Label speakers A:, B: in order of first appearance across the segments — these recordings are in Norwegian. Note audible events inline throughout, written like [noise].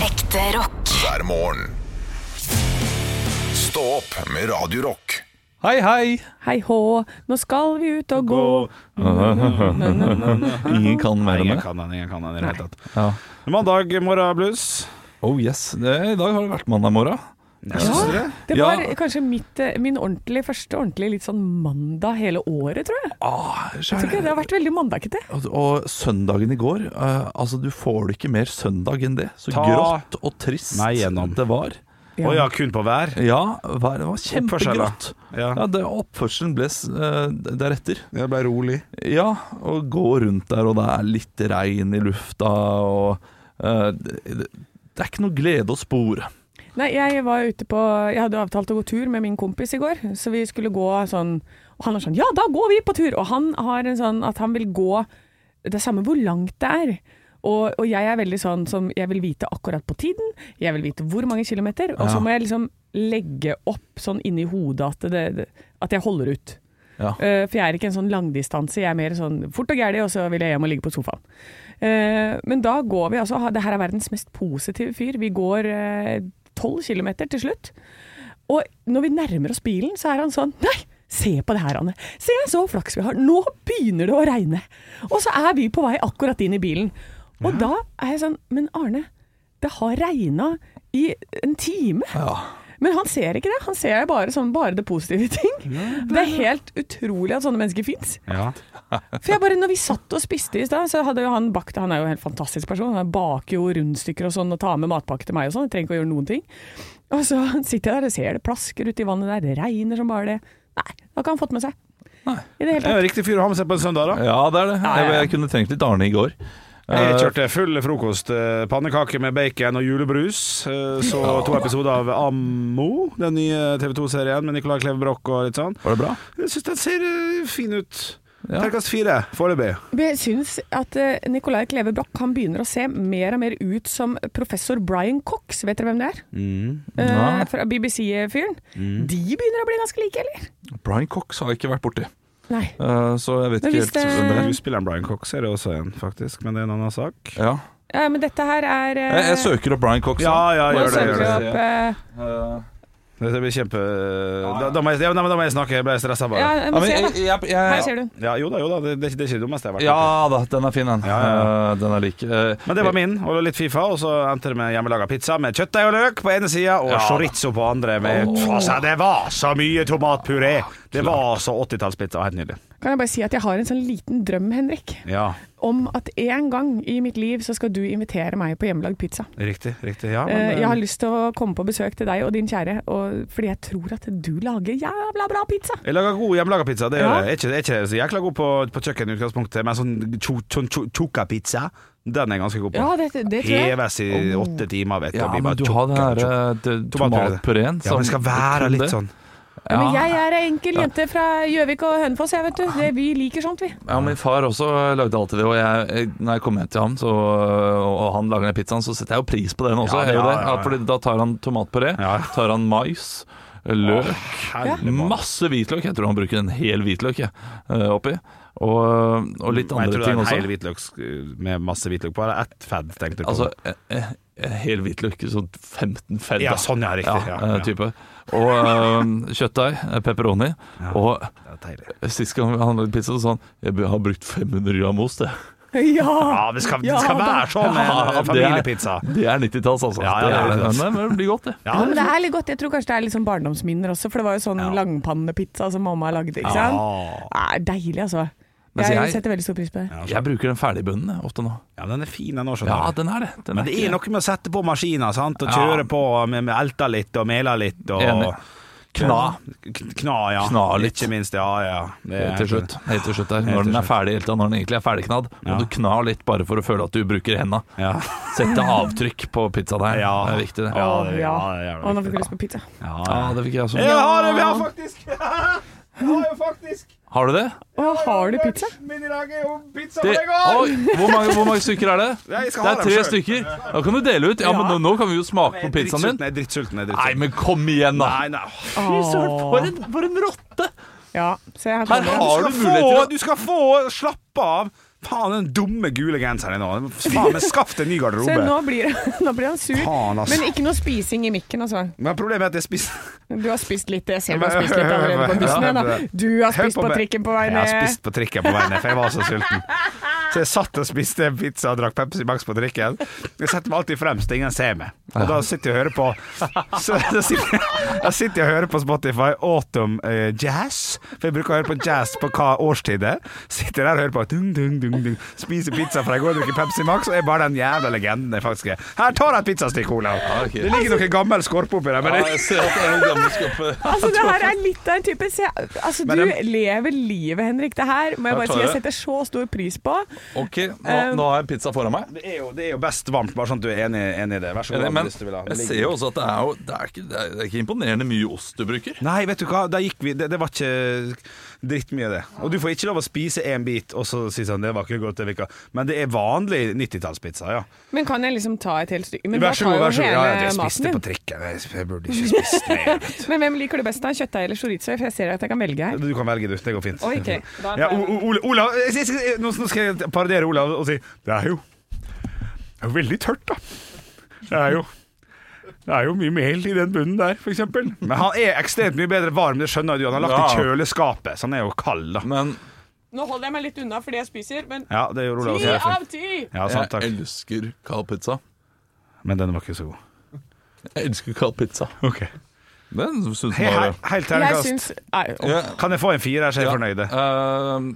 A: Ekte rock.
B: hver morgen. Stå opp med Radio Rock.
C: Hei, hei!
D: Hei hå, nå skal vi ut og gå.
C: Ingen kan mer enn
E: Ingen
C: det.
E: kan den, ingen kan den i det hele tatt.
C: Ja.
E: Mandag morgen blues.
C: Oh yes, det, i dag har det vært mandagmorgen.
D: Ja, det var
C: Ja.
D: kanskje mitt, eh, min ordentlig, første ordentlig litt sånn mandag hele året, tror jeg.
C: Ah,
D: Jeg tror ikke Det har vært veldig mandagete.
C: og, og søndagen i går eh, Altså, du får det ikke mer søndag enn det. Så
E: Ta
C: grått og trist
E: meg gjennom.
C: det var.
E: Å ja, kun på hver?
C: Ja, vær- det var kjempegrått.
E: Oppførsel, Ja.
C: Ja, det, oppførselen ble s- eh, deretter.
E: Det ble rolig.
C: Ja, og gå rundt der, og det er litt regn i lufta, og eh, det, det er ikke noe glede å spore.
D: Nei, jeg var ute på Jeg hadde avtalt å gå tur med min kompis i går, så vi skulle gå sånn Og han er sånn Ja, da går vi på tur! Og han har en sånn at han vil gå Det er samme hvor langt det er. Og, og jeg er veldig sånn som Jeg vil vite akkurat på tiden, jeg vil vite hvor mange kilometer, og så
C: Ja.
D: må jeg liksom legge opp sånn inni hodet at, det, det, at jeg holder ut.
C: Ja.
D: Eh, for jeg er ikke en sånn langdistanse, jeg er mer sånn fort og gæli, og så vil jeg hjem og ligge på sofaen. Eh, men da går vi altså ha- Det her er verdens mest positive fyr. Vi går eh, tolv kilometer til slutt. Og når vi nærmer oss bilen, så er han sånn Nei! Se på det her, Anne. Se så flaks vi har. Nå begynner det å regne. Og så er vi på vei akkurat inn i bilen. Og da er jeg sånn Men Arne, det har regna i en time. Men han ser ikke det. Han ser bare, sånn, bare det positive i ting. Det er helt utrolig at sånne mennesker fins.
E: Ja.
D: For jeg bare, når vi satt og spiste i sted, så hadde jo han bakt Han er jo en helt fantastisk person. Han baker jo rundstykker og sånn, og tar med matpakke til meg og sånn. Jeg trenger ikke å gjøre noen ting. Og så sitter jeg der og ser det plasker ute i vannet der, det regner som bare det. Nei, det har ikke han fått med seg. I det hele
E: Det er
D: tatt.
E: jo riktig fyr å ha med seg på en søndag, da.
C: Ja, det er det.
D: ja, ja.
C: Jeg, jeg kunne trengt litt Arne i går.
E: Jeg kjørte full frokost. eh, Pannekaker med bacon og julebrus. eh, Så to episoder av Ammo, den nye TV 2-serien med Nicolai Kleve Broch og litt sånn.
C: Var det bra?
E: Jeg syns den ser eh, fin ut.
C: Ja.
E: Terningkast fire foreløpig.
D: Men Jeg syns at eh, Nicolai Kleve Broch han begynner å se mer og mer ut som professor Brian Cox. Vet dere hvem det er? Eh,
E: Mm,
C: Nei.
D: fra BBC-fyren. De begynner å bli ganske like, eller?
C: Brian Cox har jeg ikke vært borti,
D: Nei.
C: Eh, så jeg vet
D: Men
C: ikke
D: hvis
C: helt hvem det er.
E: Skuespilleren Brian Cox er det også en, faktisk, men det er en annen sak.
C: Ja.
D: Ja, men dette her er eh,
C: Jeg, jeg søker opp Brian Cox. da.
E: Ja, ja,
D: nå
E: gjør det.
D: søker
E: Gjør det.
D: vi opp, eh,
E: Dette blir kjempe... Da, da, må jeg, ja, nei, men da må jeg snakke, jeg ble stressa bare.
D: Ja,
E: Ja.
D: jeg
C: Ja,
D: må
C: men
D: se,
C: jeg,
D: da.
C: jeg,
D: Her
C: jeg,
D: ser du den.
E: jo da, jo da, det, det, er ikke- det er ikke det dummeste jeg har vært
C: ja
E: med på.
C: da, den er fin, den.
E: Ja, ja,
C: Eh, den er lik. Eh,
E: Men det var min, og litt Fifa, og så endte det med hjemmelaga pizza med kjøttdeig og løk på ene sida og
C: Ja.
E: chorizo på andre. Med, altså, det var så mye tomatpuré! Det var så 80-tallspizza. Helt nydelig.
D: Kan jeg bare si at jeg har en sånn liten drøm, Henrik,
E: Ja,
D: om at en gang i mitt liv så skal du invitere meg på hjemmelagd pizza.
E: riktig. riktig ja,
D: Eh,
E: men,
D: Jeg har lyst til å komme på besøk til deg og din kjære, og, fordi jeg tror at du lager jævla bra pizza.
E: jeg lager god hjemmelaga pizza. Det gjør
D: Ja.
E: jeg. Jeg er ikke, jeg er ikke så jækla god på, på kjøkken i utgangspunktet, men sånn cho- cho- cho- choca-pizza, den er jeg ganske god på.
D: Ja, det, det tror jeg.
E: Heves i åtte timer, vet du.
C: ja,
E: og blir
C: men
E: bare
C: du har den
E: choca- choca.
C: her eh, tomatpureen.
E: Ja, men det skal være litt sånn.
D: Ja, Men
C: Ja.
D: jeg er ei enkel jente fra Gjøvik og Hønefoss, jeg, vet du. Det, vi liker sånt, vi.
C: Ja, min far også lagde alltid det, og jeg, jeg- når jeg kom hjem til ham så, og han lager den pizzaen, så setter jeg jo pris på den også.
E: Ja,
C: jeg gjør
E: ja,
C: det.
E: ja, ja.
C: Fordi da tar han tomatpuré,
E: Ja.
C: tar han mais, løk,
E: Helvete.
C: masse hvitløk. Jeg tror han bruker en hel hvitløk jeg, eh, oppi. Og, og litt
E: Mm, Jeg
C: andre
E: tror det
C: ting
E: er en
C: også.
E: hel hvitløk sk- med masse hvitløk på. Eller ett fedd, tenkte jeg på.
C: Altså, eh, eh, en hel hvitløk, sånn 15 fedd.
E: ja,
C: da.
E: sånn, ja. Riktig. Ja,
C: eh,
E: ja.
C: type. Og eh, kjøttdeig, eh, pepperoni. Og eh,
E: Det er deilig.
C: sist gang han lagde pizza, så sa han jeg har brukt 500 gram ost.
E: [laughs]
C: jeg».
D: Ja!
E: Ja, det skal, det
D: Ja,
E: skal
D: da-
E: være sånn med
C: Ja,
E: en familiepizza.
C: Det er, det er 90-talls, altså.
E: Ja, ja, det er
C: det,
E: 90-talls.
C: men det blir godt, det.
D: Ja, men det er litt godt. Jeg tror kanskje det er litt sånn barndomsminner også, for det var jo sånn langpannepizza som mamma lagde, ikke sant. Det er deilig, altså.
C: Men så
D: Jeg,
C: jeg-
D: setter veldig stor pris på det.
C: Jeg bruker den ferdigbunnen jeg, ofte nå.
E: sånn. Ja, den er fin, den
C: Ja,
E: òg, skjønner du.
C: den er det. Den
E: Men det er
C: ikke-
E: noe med å sette på maskiner, sant, og
C: Ja.
E: kjøre på med, med elta litt og mela litt og
C: Enig. Kna
E: K- Kna, ja.
C: Kna litt.
E: Ikke minst, ja, ja. Det er
C: helt til
E: Eh, helt-
C: slutt. Helt til slutt der.
E: til
C: Når den er
E: slutt.
C: ferdig, helt til når den egentlig er ferdigknadd, må
E: Ja.
C: du kna litt bare for å føle at du bruker henda.
E: Ja.
C: Sette avtrykk på pizzadeigen.
E: Ja.
C: Det er viktig, det.
E: Ja,
D: Åh,
E: det-
D: ja.
E: ja, det er jævlig
D: Å, nå
E: viktig.
D: fikk jeg lyst på pizza.
E: Ja,
C: Ja,
E: ja.
C: det fikk jeg også.
E: Jeg har det, vi har faktisk [laughs] Jeg har jo faktisk
C: Har du det?
D: Å, har du pizza?
E: Min i dag er jo pizza
C: det
E: for deg òg!
C: oi, hvor, mange, hvor mange stykker er det?
E: Ja, jeg skal
C: Det
E: ha
C: er
E: dem
C: tre
E: selv.
C: stykker. Da kan du dele ut. Ja, men nå, nå kan vi jo smake på pizzaen din.
E: Jeg er drittsulten. Jeg er
C: Nei,
E: drittsulten.
C: men kom igjen, da!
E: Nei, nei.
C: Fy søren, for en, for en rotte!
D: Ja, se her
C: Her
D: kommer det.
C: har du
E: Du skal,
C: mulighet til
E: få,
C: å
E: du skal få slappe av. Faen, den dumme gule genseren din nå. Faen, men skaff deg en ny
D: Så
E: garderobe.
D: nå blir, [laughs] nå blir han sur.
E: Faen, altså.
D: Men ikke noe spising i mikken, altså.
E: Men problemet er at jeg spiser
D: Du har spist litt, jeg ser du har spist litt allerede på bussen igjen, da. Du har
E: [laughs] Hør
D: spist på
E: meg.
D: trikken på vei
E: Jeg har
D: ned.
E: spist på trikken på vei ned, for jeg var så sulten. Så jeg satt og spiste en pizza og drakk Pepsi Max på trikken. Jeg setter meg alltid fremst, ingen ser meg. Og da sitter jeg og hører på så, da, sitter jeg, da sitter jeg og hører på Spotify Autumn eh, Jazz. For jeg bruker å høre på jazz på hva årstid det er. Sitter der og hører på dung, dung, dung, dung. Spiser pizza fra i går, drikker Pepsi Max, og er bare den jævla legenden jeg faktisk er. Her, tar jeg et pizzastykke, Olav.
C: ok.
E: Det ligger noe gammel skorpe oppi der, men
C: Ja,
E: det,
C: jeg ser at det er noen gamle
E: eh.
C: skuffer.
E: [laughs]
D: Altså, det her er litt av en type se, Altså,
E: Men
D: du
E: den-
D: lever livet, Henrik. Det her må
C: Her
D: jeg bare
C: tar
D: si
C: jeg
D: jeg
C: det.
D: setter så stor pris på.
C: Ok, nå, nå har jeg pizza foran meg.
E: Det er, jo, det er jo best varmt, bare sånn at du er enig, enig i det. Vær så god.
C: Enig, Men
E: hvis du vil ha.
C: jeg ser jo også at det er jo det er ikke, det er ikke imponerende mye ost du bruker.
E: Nei, vet du hva, da gikk vi Det, det var ikke drittmye, det. Og du får ikke lov å spise én bit og så si sånn Det var ikke godt, det virka. Men det er vanlig 90-tallspizza, ja.
D: Men kan jeg liksom ta et helt stykke? Men da
E: Vær så
D: tar
E: god, vær
D: jo
E: så god. Ja, ja,
D: hele
E: jeg spiste
D: maten
E: på
D: din.
E: trikken. Jeg, jeg burde ikke spist mer.
D: [laughs] Men hvem liker du best da? Kjøttdeig eller chorizo? For jeg ser at jeg kan velge her.
E: Du kan velge, du. Det går fint.
D: Ok, da
E: ja,
D: tar jeg-
E: O- O- Ola, Olav, jeg- jeg- jeg- nå nå skal jeg parodiere Olav og si Det er jo Det er jo veldig tørt, da. Det er jo det er jo mye mel i den bunnen der, f.eks. Men han er ekstremt mye bedre varm, det skjønner du. Han har lagt
C: Ja.
E: i kjøleskapet, så han er jo kald, da.
C: Men
D: Nå holder jeg meg litt unna fordi jeg spiser, men
E: Ja, det gjorde Olav også. Det er fint.
D: ti!
E: Ja,
C: jeg
E: sant, takk.
C: elsker kald pizza.
E: Men den var ikke så god.
C: Jeg elsker kald pizza.
E: Ok
C: Den syns jeg
E: He he
C: var
E: helt
D: Jeg
E: terningkast.
D: syns Nei, å,
C: ja,
E: Kan jeg få en firer, så er jeg fornøyd?
C: ehm,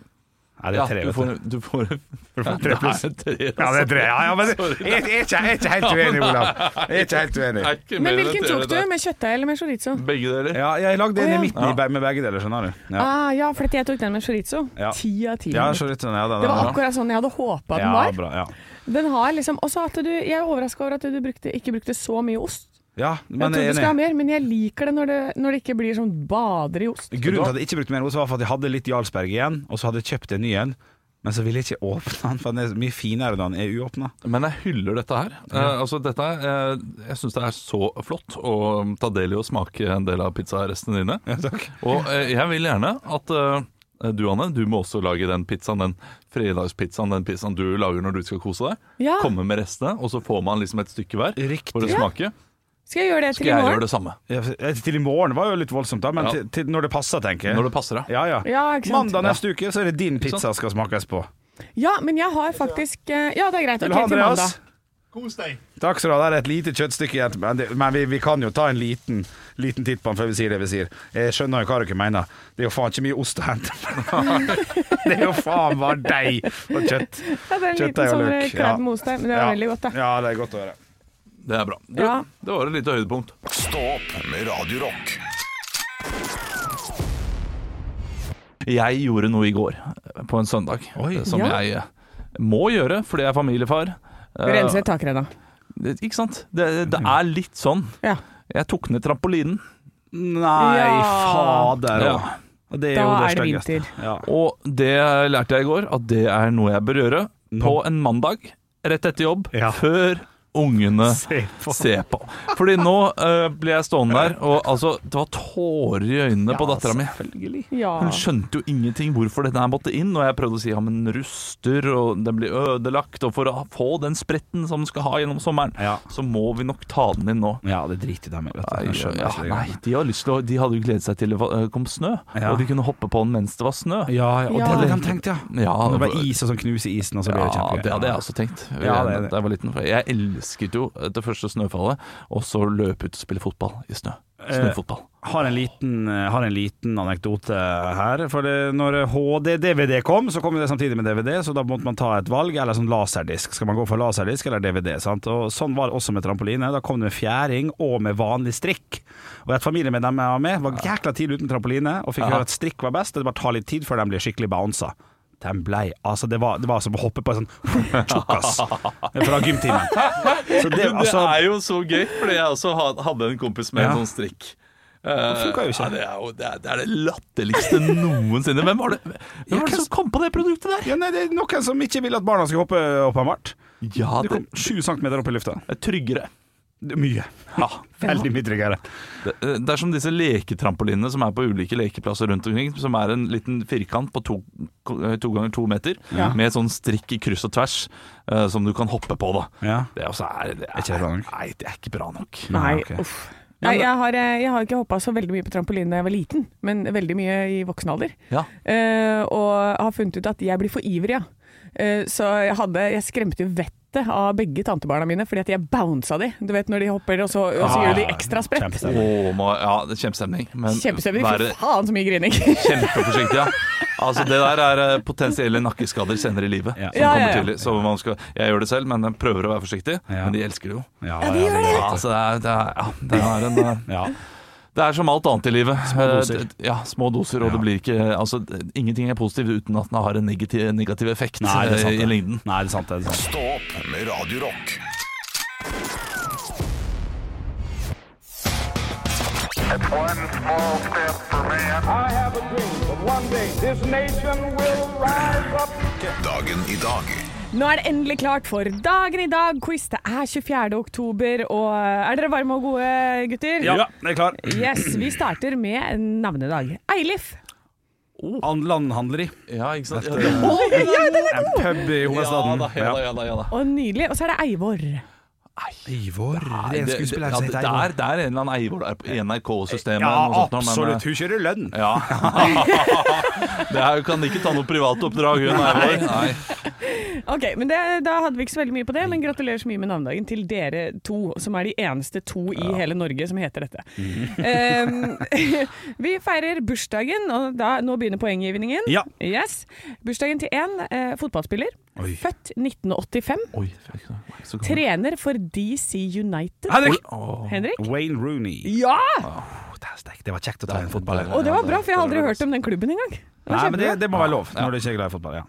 E: Nei, det
C: ja,
E: er tre,
C: du
E: vet
C: får,
E: du.
C: du får [laughs]
E: Du får
C: Det
E: tre pluss.
C: er tre,
E: Ja, det
C: altså.
E: er tre. Ja, ja, men det, jeg, jeg, er ikke, jeg er ikke helt uenig, Olav. Jeg er ikke helt
C: Det
E: uenig.
C: er ikke
D: Men
C: mer enn
D: hvilken
C: tre,
D: tok du?
C: det er
D: Med kjøttdeig eller med chorizo?
C: Begge deler.
E: Ja, jeg lagde en
D: Å, ja.
E: i midten i be- med begge deler, skjønner du. Mm. Ja,
D: Ah, ja, for jeg tok den med chorizo.
E: Ja.
D: Ti av ti.
E: ja så litt sånn, ja, den,
D: Det var
E: den,
D: akkurat sånn jeg hadde håpa den
E: ja,
D: var.
E: bra, ja.
D: Den har liksom Også at du Jeg er overraska over at du brukte, ikke brukte så mye ost.
E: ja,
D: Jeg
E: men
D: trodde
E: jeg
D: du
E: er
D: skulle ha
E: enig.
D: mer, men jeg liker det når det, når det ikke blir sånn bader i ost.
E: Grunnen til at jeg ikke brukte mer ost, var for at jeg hadde litt Jarlsberg igjen, og så hadde jeg kjøpt en ny en. Men så ville jeg ikke åpne den, for den er mye finere når den er uåpna.
C: Men jeg hyller dette her. Eh, altså dette, er, eh, jeg syns det er så flott å um, ta del i å smake en del av pizzarestene dine.
E: Ja, takk.
C: Og eh, jeg vil gjerne at eh, du, Anne, du må også lage den pizzaen, den fredagspizzaen, den pizzaen du lager når du skal kose deg.
D: Ja,
C: Komme med restene, og så får man liksom et stykke hver
E: Riktig.
C: for å
D: Ja.
C: smake.
D: Skal jeg gjøre det
C: Skal
D: til i
C: jeg
D: morgen?
C: gjøre det samme
E: Ja, eh, Til i morgen var jo litt voldsomt, da, men
C: Ja.
E: til, til når det passer, tenker jeg.
C: når det passer deg?
E: Ja, ja.
D: Ja, ikke sant?
E: Mandag neste uke så er det din pizza skal smakes på.
D: Ja, men jeg har faktisk eh, Ja, det er greit.
E: Vil
D: Ok,
E: du ha,
D: til mandag.
E: Andreas?
A: Kos deg.
E: Takk skal du ha. Det er et lite kjøttstykke igjen, men, det, men vi, vi kan jo ta en liten, liten titt på den før vi sier det vi sier. Jeg skjønner jo hva dere mener. Det er jo faen ikke mye ost å hente. [laughs] det er jo faen bare deig og kjøtt.
D: Ja, det er en
E: Kjøttdeig
D: liten
E: og
D: sånn
E: løk,
D: eh,
E: ja.
D: kladd med ost der, men det var
E: Ja.
D: veldig godt, da.
E: Ja, det er godt å høre.
C: Det er bra. Du,
D: Ja.
C: Det var et lite høydepunkt.
B: Stå opp med Radio Rock.
C: Jeg gjorde noe i går, eh, på en søndag, eh, som
D: Ja.
C: jeg eh, må gjøre fordi jeg er familiefar. Eh,
D: Rense takrenna.
C: det- Ikke sant? Det, det er litt sånn.
D: Ja.
C: Jeg tok ned trampolinen,
E: Nei,
D: Ja.
E: fader òg.
C: Ja.
E: Det
D: Da
E: jo
D: er det
E: styggeste.
D: vinter.
E: Ja.
C: og det lærte jeg i går at det er noe jeg bør gjøre på en mandag rett etter jobb,
E: Ja.
C: før ungene
E: [laughs] Se på.
C: se på. Fordi nå eh, ble jeg stående der, og altså, det var tårer i øynene på dattera mi.
D: Ja.
C: Hun skjønte jo ingenting hvorfor dette her måtte inn, og jeg prøvde å si ja, men ruster, og den blir ødelagt, og for å få den spretten som den skal ha gjennom sommeren,
E: Ja.
C: så må vi nok ta den inn nå.
E: ja, det driter de i. vet du.
C: Nei,
E: Jeg skjønner
C: ja,
E: ikke det.
C: nei, de, har lyst til å, de hadde jo gledet seg til det var- kom snø,
E: Ja.
C: og de kunne hoppe på den mens det var snø.
E: Ja, ja, og det
D: Ja.
E: hadde de tenkt, ja.
C: Ja,
E: Når det var is og sånn knuse isen, og så blir det
C: Ja,
E: kjempegøy.
C: det hadde jeg også tenkt
E: Ja, det er det.
C: da jeg var liten. For jeg elsket jo det første snøfallet, og så løpe ut og spille fotball i snø.
E: Eh,
C: Snøfotball.
E: har en liten, eh, har en liten anekdote her. For det, når HD-DVD kom, så kom jo det samtidig med DVD, så da måtte man ta et valg. Eller sånn laserdisk. Skal man gå for laserdisk eller DVD? Sant? Og sånn var det også med trampoline. Da kom det med fjæring og med vanlig strikk. Og et familiemedlem jeg var med, var jækla tidlig uten trampoline og fikk
C: Ja.
E: høre at strikk var best. og Det bare tar litt tid før de blir skikkelig bounsa. De blei, altså det var, det var som å hoppe på en sånn [laughs] tjukkas fra gymtimen. Så det, altså,
C: er jo så gøy, fordi jeg også ha- hadde en kompis med
E: Ja.
C: en sånn strikk. Eh,
E: funka jo ikke.
C: ja, det, er jo, det, er, det er det latterligste noensinne. Hvem var det, hvem var det som kom på det produktet der?
E: ja, nei, det er noen som ikke vil at barna skal hoppe, åpenbart.
C: Ja,
E: Du
C: det
E: kom 7 cm opp i lufta.
C: er tryggere.
E: Det er Mye. Ja, veldig mye tryggere.
C: Det, eh, det er som disse leketrampolinene som er på ulike lekeplasser rundt omkring, som er en liten firkant på to, eh, to ganger to meter,
D: Ja.
C: med sånn strikk i kryss og tvers, eh, som du kan hoppe på, da.
E: Ja.
C: Det er også er, det er,
E: ikke det bra nok?
C: Nei, det er ikke bra nok.
D: Nei,
E: ok.
D: uff. Nei, jeg har, eh, jeg har ikke hoppa så veldig mye på trampoline da jeg var liten, men veldig mye i voksen alder.
C: Ja.
D: Eh, og har funnet ut at jeg blir for ivrig, ja. Eh, så jeg, hadde, jeg skremte jo vettet av begge tantebarna mine, fordi at jeg bounsa de. Du vet når de hopper, og så, og så gjør de ekstra sprett.
E: Ah, Kjempestemning.
C: Åh, må- ja, det er kjempestemning. Men
D: Kjempestemning.
C: vær
D: Fy faen, så mye grining. [laughs]
C: kjempeforsiktig, ja. Altså, det der er eh, potensielle nakkeskader senere i livet.
E: Ja.
C: Som
D: Ja, ja,
C: kommer
D: ja.
C: tidlig. Så man skal, jeg gjør det selv, men jeg prøver å være forsiktig.
E: Ja.
C: Men de elsker det jo.
E: Ja,
D: de gjør det.
C: Ja, altså, det, er, det, er, ja, det, er en, eh,
E: Ja.
C: det er som alt annet i livet. Små
E: doser.
C: Ja, små doser, og
E: Ja.
C: det blir ikke altså, det- Ingenting er positivt uten at den har en negativ, negativ effekt
E: Nei, det er sant.
C: eh, i lengden.
E: Nei, det er sant. Det er sant.
B: Stå opp med Radio Rock.
A: One small step for man.
F: I have a dream that one day this nation will rise up.
B: Dagen i dag
D: Nå er det endelig klart for dagen i dag. Quiz. Det er 24. oktober, og eh, er dere varme og gode, gutter?
E: Ja, jeg er klar.
D: Yes, Vi starter med navnedag. Eilif.
E: An- Landhandleri.
C: Ja, ikke sant? Ja,
E: Dette-
C: det-
E: En pub i
C: ja,
E: hovedstaden.
C: da, ja, da, ja, da, ja, da.
D: Og nydelig. Og så er det Eivor.
E: Eivor. Det er
C: Det,
E: en
C: det,
E: skuespiller
C: ja,
E: som
C: det,
E: heter
C: det,
E: Eivor.
C: er, det er en eller annen Eivor der på NRK-systemet.
E: Ja,
C: eller noe sånt nå, men, eh,
E: absolutt. Hun kjører lønn.
C: Ja. [laughs] det er, hun kan ikke ta noe privatoppdrag, hun Eivor. Nei.
D: Ok, men det, Da hadde vi ikke så veldig mye på det, men gratulerer så mye med navnedagen til dere to, som er de eneste to i hele Norge som heter dette.
E: Mm.
D: Eh, [laughs] vi feirer bursdagen, og da, nå begynner poenggivningen.
E: Ja.
D: Yes. Bursdagen til én eh, fotballspiller.
E: Oi.
D: Født 1985.
C: Oi, fy søren, det var ikke så gammel.
D: Trener for DC United.
E: Henrik!
C: Åh.
D: Henrik?
E: Wayne Rooney.
D: Ja!
E: Åh, det er sterkt. Det var kjekt å ta en fotball.
D: Og det var bra, for jeg har aldri hørt om den klubben engang. Det var
E: Nei, men det,
D: kjempebra.
E: det må være lov når du ikke er glad i fotball. Ja.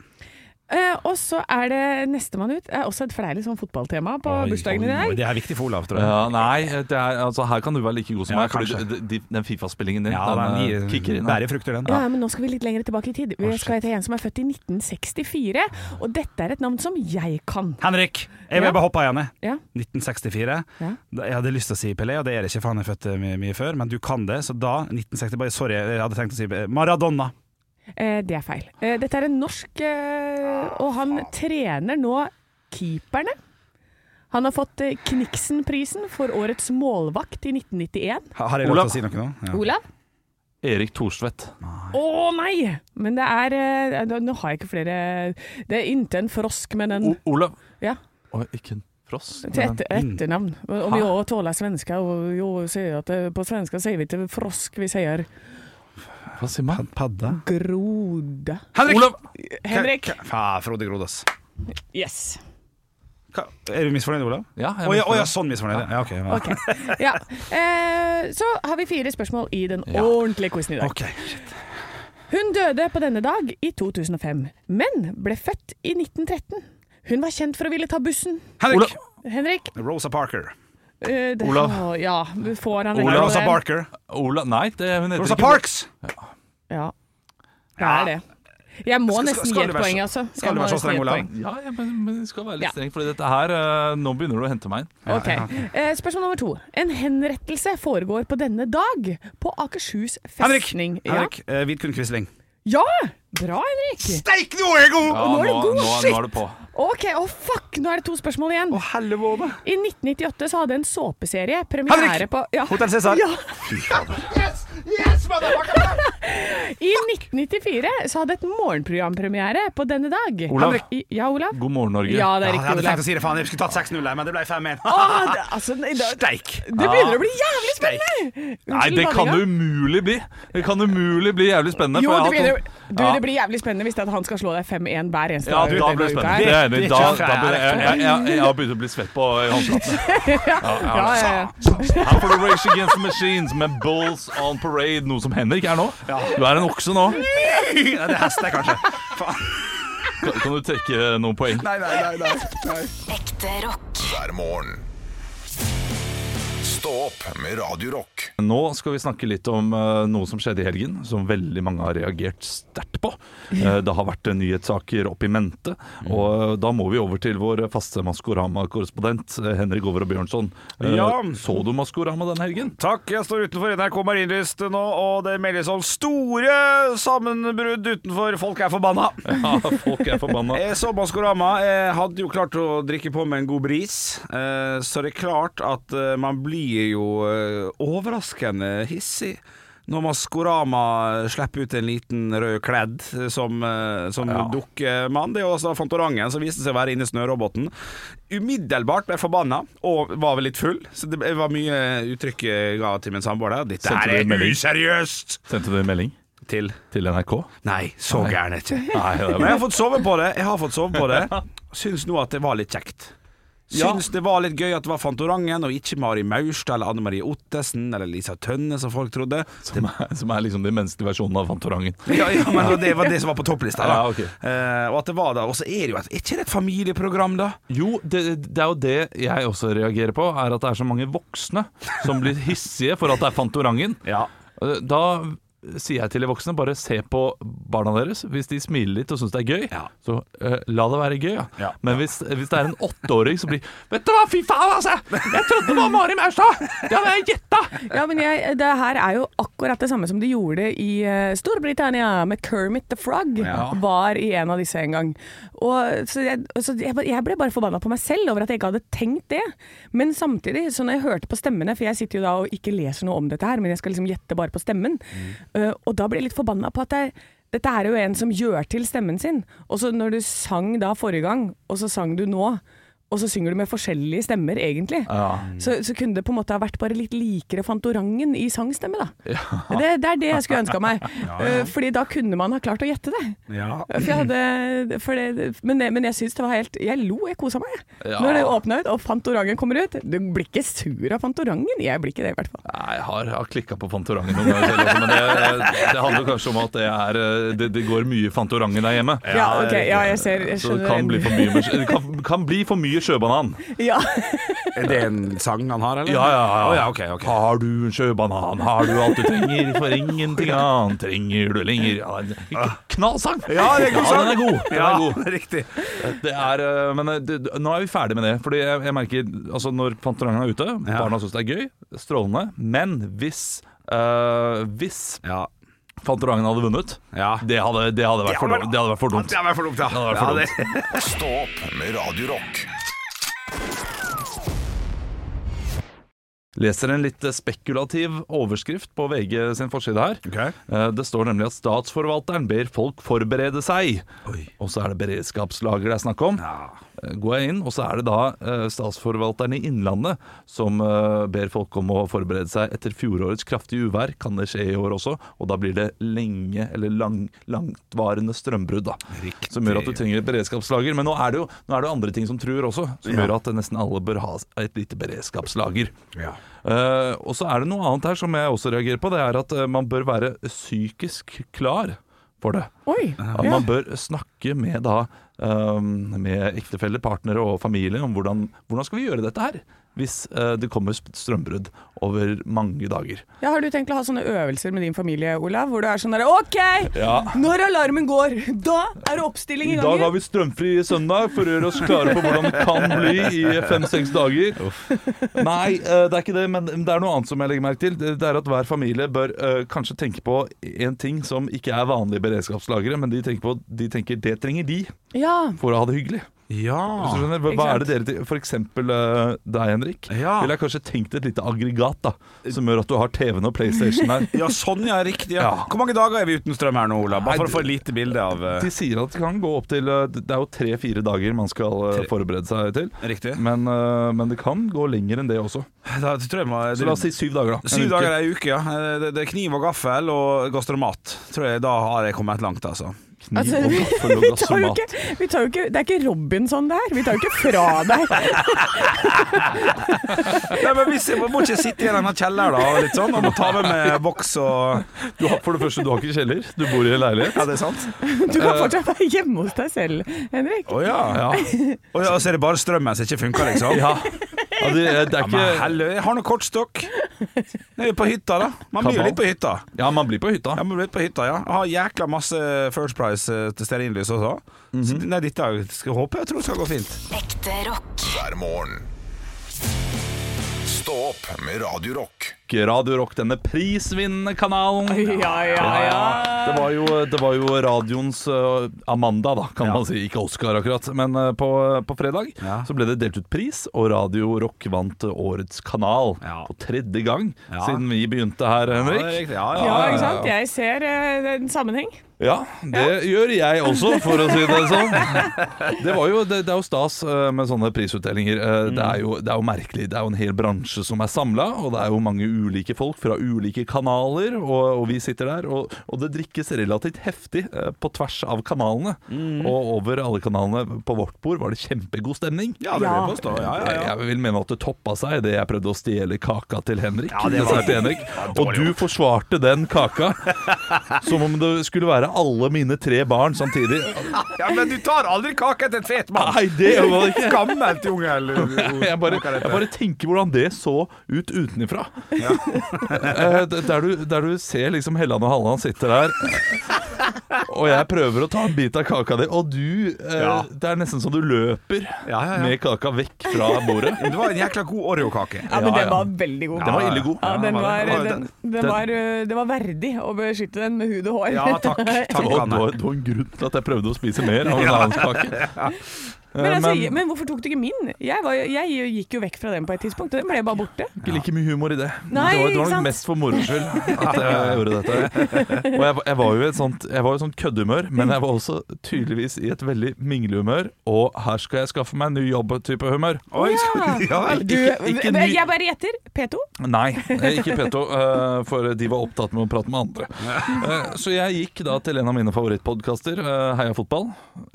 D: Eh, og så er det nestemann ut. Er også et fleilig sånn fotballtema på bursdagen din.
E: Oi,
D: her.
E: Det er viktig for Olav, tror jeg.
C: Ja, nei, det er, altså, her kan du være like god som
E: Ja,
C: meg, fordi
E: kanskje.
C: d- d- de- den Fifa-spillingen din
E: Ja,
C: den,
E: den
C: eh,
E: gir-
C: kicker inn.
E: bærer frukter, den.
D: Ja, men nå skal vi litt lenger tilbake i tid. Vi skal til en som er født i 1964, og dette er et navn som jeg kan.
E: Henrik! Jeg vil
D: Ja.
E: bare hoppe av Janne.
D: Ja.
E: 1964.
D: Ja.
E: Da- Jeg hadde lyst til å si Pelé, og det er det ikke, for han er født eh, mye, mye før, men du kan det. Så da, 1960 bare, Sorry, jeg hadde tenkt å si eh, Maradona.
D: Eh, det er feil. Eh, dette er en norsk, eh, og han trener nå keeperne. Han har fått eh, Kniksen-prisen for årets målvakt i 1991.
E: Ha- Har jeg lov
C: Olav.
E: til å si noe nå? Ja.
D: Olav?
C: Erik Thorstvedt.
D: Å nei! Men det er eh, nå- Nå har jeg ikke flere Det er inntil en frosk, men en
C: O Olav.
D: Ja.
C: Oi, ikke en frost.
D: Til etter, etternavn. Og vi òg tåler svensker. Og jo, sier at eh, på svenska sier vi ikke frosk, vi sier
C: Hva sier man?
E: Padda.
D: grode.
E: Henrik!
C: Olav!
D: Henrik.
E: Ka- ka- Fa, Frode Grodås.
D: Yes.
E: Ka- Er du misfornøyd, Olav?
C: Ja, jeg
E: Å ja,
C: vet
E: å ja,
C: det.
E: sånn misfornøyd. ja. Ja, ok, ja.
D: Ok. [laughs] Ja. Eh, så har vi fire spørsmål i den
C: Ja.
D: ordentlige quizen i dag.
E: Ok,
D: Hun døde på denne dag i 2005, men ble født i 1913. Hun var kjent for å ville ta bussen.
E: Henrik!
C: Olav.
D: Henrik
E: Rosa Parker.
D: eh, det,
C: Olav.
D: å, Ja, får han
E: Nei,
D: rett på
E: Rosa
D: den?
E: Barker.
C: Olav Nei, det, hun heter
E: Rosa
C: ikke
E: Parks!
D: Ja. Det er det. Jeg må
E: Skal- skal-
D: nesten gi
E: skal du
D: et
E: være
D: poeng,
E: så-
D: altså. Jeg
E: skal du
D: må
E: være så
D: nesten gi
E: streng,
D: et
E: Olav?
D: poeng.
C: Ja, ja, men, men du skal være litt
D: Ja.
C: streng, Fordi dette her eh, Nå begynner du å hente meg inn.
D: Ok. Eh, spørsmål nummer to. En henrettelse foregår på denne dag på Akershus
E: Henrik!
D: festning.
E: Henrik eh, Vidkun Quisling.
D: Ja. ja! Bra, Henrik!
E: Steik, nå er jeg god!
C: Ja,
D: nå er det god
C: nå,
D: shit!
C: nå er det på.
D: Ok, å fuck, nå er det to spørsmål igjen.
E: Å, helvete.
D: I 1998 så hadde en såpeserie premiere
E: Henrik!
D: på ja.
E: Hotel Cæsar.
D: Ja.
A: Yes! Yes, motherfucker!
D: [laughs] I 1994 så hadde et morgenprogram premiere på denne dag.
C: Olav.
D: Henrik- I, ja, Olav?
C: God morgen, Norge.
D: Ja, det er
E: Ja, jeg
D: riktig,
E: hadde tenkt å
D: Olav.
E: si det, faen. Jeg skulle tatt 6-0, her, men det ble 5-1.
D: Å, det, altså, nei, det,
E: [laughs] Steik!
D: det begynner å bli jævlig spennende!
C: Nei, det kan
D: du
C: umulig bli! Det kan umulig bli jævlig spennende.
D: Jo,
C: for jeg har
D: det blir,
C: hatt
D: du,
C: noen-
D: det blir jævlig spennende hvis det er at han skal slå deg 5-1 hver eneste
C: Ja, da
D: denne
C: blir det
D: uka
C: spennende.
D: her.
C: Det er enig.
E: Det er
C: Da,
E: ikke
C: da
E: fair.
C: blir- jeg, jeg, jeg, jeg har begynt å bli svett på håndflaten.
D: Ja, ja, ja.
C: Her får du Rage Against the Machines med Bulls on Parade, noe som Henrik er nå. Du er en okse nå.
E: [laughs] Nei, det er hest, det, kanskje.
C: Kan, kan du trekke noen poeng?
E: Nei, nei, nei, nei.
G: Ekte rock.
B: hver morgen. Stå opp med Radio Rock.
C: Nå skal vi snakke litt om eh, noe som skjedde i helgen, som veldig mange har reagert sterkt på. Eh, det har vært eh, nyhetssaker opp i mente, og eh, da må vi over til vår faste Maskorama-korrespondent eh, Henrik Over og Bjørnson. Eh,
E: Ja.
C: Så du Maskorama den helgen?
E: Takk, jeg står utenfor NRK Marienlyst nå, og det meldes om store sammenbrudd utenfor. Folk er forbanna.
C: Ja, Ah, folk er forbanna. [laughs]
E: Eh, Sommerskorama eh, hadde jo klart å drikke på med en god bris, eh, så det er klart at eh, man blir jo eh, overraskende hissig. Når Maskorama slipper ut en liten rød kledd eh, som, eh, som dukkemann. Det er jo altså Fantorangen som viste seg å være inni snøroboten. Umiddelbart ble jeg forbanna, og var vel litt full. Så det var mye uttrykk jeg ga til min samboer der. Dette
C: Sendte
E: her
C: du en
E: er
C: melding?
E: useriøst!
C: Sendte du en melding
E: Til
C: til NRK?
E: Nei, så gæren er jeg ikke.
C: Nei, det
E: Men jeg har fått sove på det. Jeg har fått sove på det. Syns nå at det var litt kjekt. Syns det var litt gøy at det var Fantorangen og ikke Mari Maurstad eller Anne Marie Ottesen eller Lisa Tønne, som folk trodde.
C: Som er, som er liksom den menneskelige versjonen av Fantorangen.
E: Ja, ja, men Det var det som var på topplista. da
C: Ja, ok.
E: eh, Og at det var da Og så er det jo et, er ikke det et familieprogram, da?
C: Jo, det, det er jo det jeg også reagerer på, er at det er så mange voksne som blir hissige for at det er Fantorangen.
E: Ja
C: Da sier jeg til de voksne, bare se på barna deres. Hvis de smiler litt og syns det er gøy,
E: Ja.
C: så eh, la det være gøy. Ja.
E: Ja.
C: Men hvis, hvis det er en åtteåring som blir Vet du hva, fy faen, altså! Jeg trodde det var Mari Maurstad! Det hadde jeg gjetta!
D: Ja, men jeg, det her er jo akkurat det samme som de gjorde i eh, Storbritannia med Kermit the Frog.
E: Ja.
D: Var i en av disse en gang. Og, så jeg, så jeg, bare- jeg ble bare forbanna på meg selv over at jeg ikke hadde tenkt det. Men samtidig, så når jeg hørte på stemmene, for jeg sitter jo da og ikke leser noe om dette her, men jeg skal liksom gjette bare på stemmen, Eh, og da ble jeg litt forbanna på at jeg dette er jo en som gjør til stemmen sin. Og så når du sang da forrige gang, og så sang du nå, og så synger du med forskjellige stemmer, egentlig. Så, så kunne det på en måte ha vært bare litt likere Fantorangen i sangstemme, da. [laughs] Det, det er det jeg skulle ønska
C: [laughs]
D: meg. Eh, Fordi da kunne man ha klart å gjette det.
E: Ja.
D: For jeg hadde, for det men, det- men jeg syns det var helt Jeg lo, jeg kosa meg. jeg.
C: Ja.
D: Når det åpna ut og Fantorangen kommer ut. Du blir ikke sur av Fantorangen. Jeg blir ikke det, i hvert fall.
C: Nei, jeg har, har klikka på Fantorangen noen ganger selv, altså, men det, det handler kanskje om at det, er, eh, det, det går mye Fantorangen der hjemme.
D: Ja, ok, ja, jeg ser jeg
C: Så det
D: skjønner
C: kan
D: den.
C: bli for mye, med- det kan, kan bli for mye sjøbanan.
D: [laughs] Ja.
E: Er det en sang han har, eller?
C: Ja, ja, ja.
E: Å, ja ok, ok.
C: Har du en sjøbanan, har du alt du trenger, for ingenting annet trenger du lenger. Ja, det er en knallsang!
E: Ja, det er en god sang.
C: den er god. Den
E: Ja,
C: er god.
E: riktig.
C: Det er, eh, men eh, det, nå er vi ferdig med det. Fordi jeg, jeg merker, altså Når Fantorangen er ute,
E: Ja.
C: barna syns det er gøy, strålende. Men hvis eh, Hvis
E: Ja.
C: Fantorangen hadde vunnet,
E: Ja.
C: det, hadde, det, hadde vært for, dumt.
E: hadde vært-
C: det hadde vært for dumt.
E: Det hadde vært for dumt, ja.
C: hadde vært for
E: Ja, det-
B: Stå opp med Radio Rock.
C: Leser en litt eh, spekulativ overskrift på VG sin forside her.
E: Ok.
C: Eh, Det står nemlig at statsforvalteren ber folk forberede seg. Og så er det beredskapslager det er snakk om.
E: Ja.
C: Eh, Går jeg inn, og så er det da eh, statsforvalteren i Innlandet som eh, ber folk om å forberede seg etter fjorårets kraftige uvær. Kan det skje i år også? Og da blir det lenge eller lang, langtvarende strømbrudd, da. Som gjør at du trenger et beredskapslager. Men nå er det jo, nå er det jo andre ting som truer også, som gjør at nesten alle bør ha et lite beredskapslager.
E: Ja.
C: Eh, og så er det noe annet her som jeg også reagerer på. Det er at eh, man bør være psykisk klar for det.
D: Oi.
C: At man bør snakke med da eh, Med ektefeller, partnere og familie om hvordan, hvordan skal vi gjøre dette her hvis eh, det kommer sp- strømbrudd over mange dager.
D: Ja, har du tenkt å ha sånne øvelser med din familie, Olav? Hvor du er sånn derre OK,
C: Ja.
D: når alarmen går, da er det oppstilling
C: I
D: i gangen.
C: dag har vi strømfri søndag for å gjøre oss klare på hvordan det kan bli i fem-seks dager. Nei, eh, det er ikke det, men det er noe annet som jeg legger merke til. Det det er at hver familie bør eh, kanskje tenke på en ting som ikke er vanlige beredskapslagre, men de tenker, på, de tenker det trenger de
D: Ja.
C: for å ha det hyggelig. Hvis du [laughs]
E: ja.
C: skjønner, hva- hva er det dere til, For eksempel eh, deg, Henrik.
E: Ja.
C: Ville jeg kanskje tenkt et lite aggregat da som gjør at du har TV-en og PlayStation
E: [laughs]
C: her.
E: Ja, sånn ja, riktig. Ja.
C: Ja.
E: Hvor mange dager er vi uten strøm her nå, Ola?
C: Nei,
E: Bare for
C: det-
E: å få et lite bilde av eh,
C: De sier at det kan gå opp til eh, Det er jo tre-fire dager man skal eh,
E: Tre.
C: forberede seg til.
E: Riktig.
C: Men, eh, men det kan gå lenger enn det også.
E: Da tror jeg må,
C: Så la oss si syv dager, da. En
E: Syv
C: uke.
E: dager er ei uke, ja. Eh, Det, det er kniv og gaffel og gastromat. Tror jeg Da har jeg kommet langt, altså.
C: Kniv
D: Altså,
C: og
D: vi,
C: gaffel og gassomat.
D: [laughs] vi tar jo ikke, vi tar jo ikke Det er ikke Robinson det her. Vi tar jo ikke fra deg.
E: Nei, men hvis jeg må må ikke sitte i denne kjelleren da, og litt sånn, og må ta med meg boks og
C: Du har, for det første, du har ikke kjeller. Du bor i en leilighet.
E: Ja, det er sant?
D: Du kan fortsatt være hjemme hos deg selv, Henrik.
E: Å ja.
C: Ja.
E: Å ja. Og så er det bare strømmen som ikke funker, liksom?
C: Ja. Ja, det, det er
E: Ja, men
C: ikke
E: helle, jeg har noe kortstokk. Jeg er på hytta, da. Man
C: Kabal.
E: blir jo litt på hytta.
C: Ja, man blir på hytta.
E: Ja, man blir litt på hytta, ja. Jeg har jækla masse First Price eh, til stearinlys også.
C: Mhm.
E: Så nei, dette er jo- skal jeg håpe jeg tror det skal gå fint.
G: Ekte rock.
B: hver morgen. Stå opp med Radio Rock.
C: Radio Rock, denne prisvinnende kanalen.
D: Ja, ja, ja.
C: Det var jo, det var jo radioens eh, Amanda, da, kan man si. Ikke Oscar, akkurat. Men eh, på, på fredag
E: Ja.
C: så ble det delt ut pris, og Radio Rock vant Årets kanal
E: Ja.
C: på tredje gang
E: Ja.
C: siden vi begynte her,
E: Ja, det er
C: Henrik.
E: riktig. Ja, ja.
D: Ja, ikke sant? Jeg ser eh, en sammenheng.
C: Ja, det gjør jeg også, for å si det sånn. Det, var jo, det, det er jo stas eh, med sånne prisutdelinger. Eh, Det er, jo, det er jo merkelig. Det er jo en hel bransje som er samla, og det er jo mange ulike folk fra ulike kanaler, og, og vi sitter der. Og, og det drikkes relativt heftig eh, på tvers av kanalene. Og over alle kanalene på vårt bord var det kjempegod stemning.
E: Ja, det vil jeg påstå. Ja, ja, ja.
C: Eh, Jeg vil mene at det toppa seg det jeg prøvde å stjele kaka til Henrik.
E: Ja, det var-
C: Dessert til Henrik. Og du forsvarte den kaka som om det skulle være alle mine tre barn samtidig.
E: ja, men du tar aldri kake etter en fet mann.
C: Nei, det gjør man
E: [laughs]
C: ikke.
E: Gammelt jungel.
C: Jeg bare, jeg bare tenker hvordan det så ut utenifra. Eh, d- Der du, der du ser liksom Helland og Halland sitter der, og jeg prøver å ta en bit av kaka di, og du eh,
E: Ja.
C: Det er nesten som du løper
E: Ja, ja, ja.
C: med kaka vekk fra bordet.
E: Men Det var en jækla god Oreo-kake.
D: Ja, men
C: Ja,
D: den
C: ja.
D: var veldig god.
C: Den var ille god.
D: Ja,
E: Ja,
D: den
E: den var
D: var, den,
E: det. Den-
D: den, var, øh, det var verdig å beskytte den med hud og hår.
E: Ja, takk. takk
C: Det var, det,
E: Anne.
C: var, det var en grunn til at jeg prøvde å spise mer av en annen
D: [laughs]
C: kake.
D: [laughs] men, altså,
C: men-
D: men, hvorfor tok du ikke min? Jeg, var, jeg gikk jo vekk fra den på et tidspunkt, og den ble bare borte.
C: Ikke like mye humor i det.
D: Nei,
C: det var, det
D: ikke
C: var nok
D: sant?
C: mest for moro skyld at
D: [laughs]
C: jeg gjorde dette. Og jeg, var- jeg var jo i et sånt, jeg var i et sånt køddehumør, men jeg var også tydeligvis i et veldig minglehumør. Og her skal jeg skaffe meg en ny jobb-type humør.
E: Oi, skal- [laughs] ja vel.
D: Du,
C: ikke ny-
D: jeg bare gjetter. P2?
C: Nei, eh, ikke P2, eh, for de var opptatt med å prate med andre. Eh, Så jeg gikk da til en av mine favorittpodkaster, eh, Heia fotball,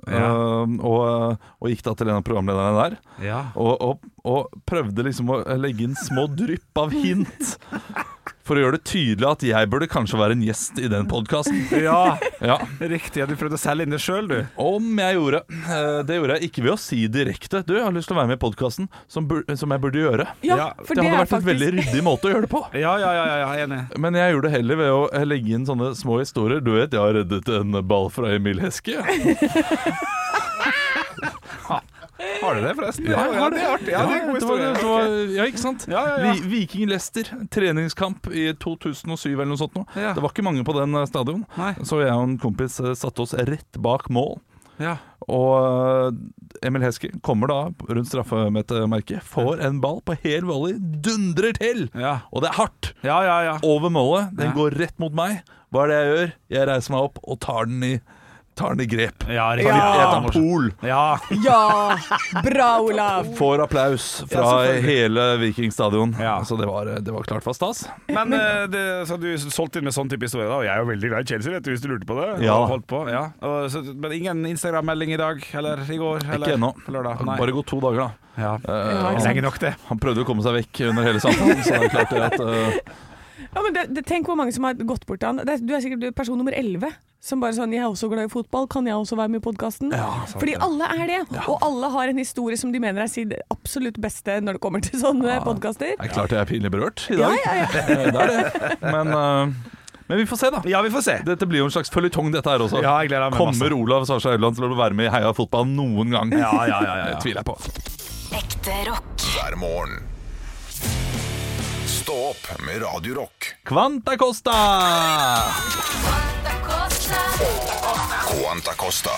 C: eh, og, eh, og gikk da til en av programlederne der.
E: Ja.
C: og, og, og prøvde liksom å legge inn små drypp av hint. For å gjøre det tydelig at jeg burde kanskje være en gjest i den podkasten.
E: ja,
C: Ja,
E: riktig. ja, Du prøvde å selge inn det sjøl, du.
C: om jeg gjorde. Eh, Det gjorde jeg ikke ved å si direkte. Du, jeg har lyst til å være med i podkasten, som, bur- som jeg burde gjøre.
E: Ja,
D: for
C: det hadde
D: er
C: vært en veldig ryddig måte å gjøre det på.
E: Ja, ja, ja, ja, ja enig.
C: Men jeg gjorde det heller ved å eh, legge inn sånne små historier. Du vet, jeg har reddet en ball fra Emil Heske.
E: Har du det, forresten?
C: Ja, jeg har
E: det er artig.
C: Ja,
E: Ja, det er en god
C: det var-
E: historie.
C: det var- ja, ikke sant?
E: Ja, ja, ja.
C: Vi- Viking Leicester, treningskamp i 2007 eller noe sånt. nå.
E: Ja.
C: Det var ikke mange på den eh, stadion,
E: Nei.
C: så jeg og en kompis eh, satte oss rett bak mål.
E: Ja.
C: Og eh, Emil Heske kommer da rundt straffemerket, får en ball på hel volley, dundrer til!
E: Ja.
C: Og det er hardt!
E: Ja, ja, ja.
C: Over målet. Den
E: Ja.
C: går rett mot meg. Hva er det jeg gjør? Jeg reiser meg opp og tar den i, tar den i grep.
E: Ja,
C: Jeg tar
E: riktig.
C: pol.
E: Ja,
D: Ja! Bra, Olav!
C: Får applaus fra
E: selvfølgelig.
C: hele Vikingstadion.
E: Ja.
C: Så det var, det var klart for stas.
E: Men eh, det, så du solgte inn med sånn type historie, da. Og jeg er jo veldig glad i Chelsea, vet du, hvis du lurte på det.
C: Ja.
E: Og Holdt på, ja. Og, så, men ingen Instagram-melding i dag? Eller i går? Eller
C: Ikke ennå.
E: på Lørdag? Nei.
C: Bare gå to dager, da.
E: ja.
C: Eh,
D: ikke sant.
E: Lenge nok, det.
C: han prøvde å komme seg vekk under hele samtalen, så det er klart det at eh,
D: Ja, men det, det, tenk hvor mange som har gått bort til han. Det er, du er sikkert person nummer 11 som bare sånn 'Jeg er også glad i fotball, kan jeg også være med i podkasten?' Fordi alle er det, og alle har en historie som de mener er sin absolutt beste når det kommer til sånne podkaster.
C: Det er klart jeg er pinlig berørt i dag. Eh, det er det. Men, eh, men vi får se, da.
E: Ja, vi får se.
C: Dette blir jo en slags føljetong, dette her også.
E: Ja, jeg gleder meg masse.
C: Kommer Olav Sarsa Haugland til å være med i Heia fotball noen gang?
E: Ja, ja, ja, ja, ja.
C: Det tviler jeg på.
G: Ekte rock.
B: hver morgen. Stå opp med Radio Rock.
C: Quanta Costa!
B: Quanta Costa.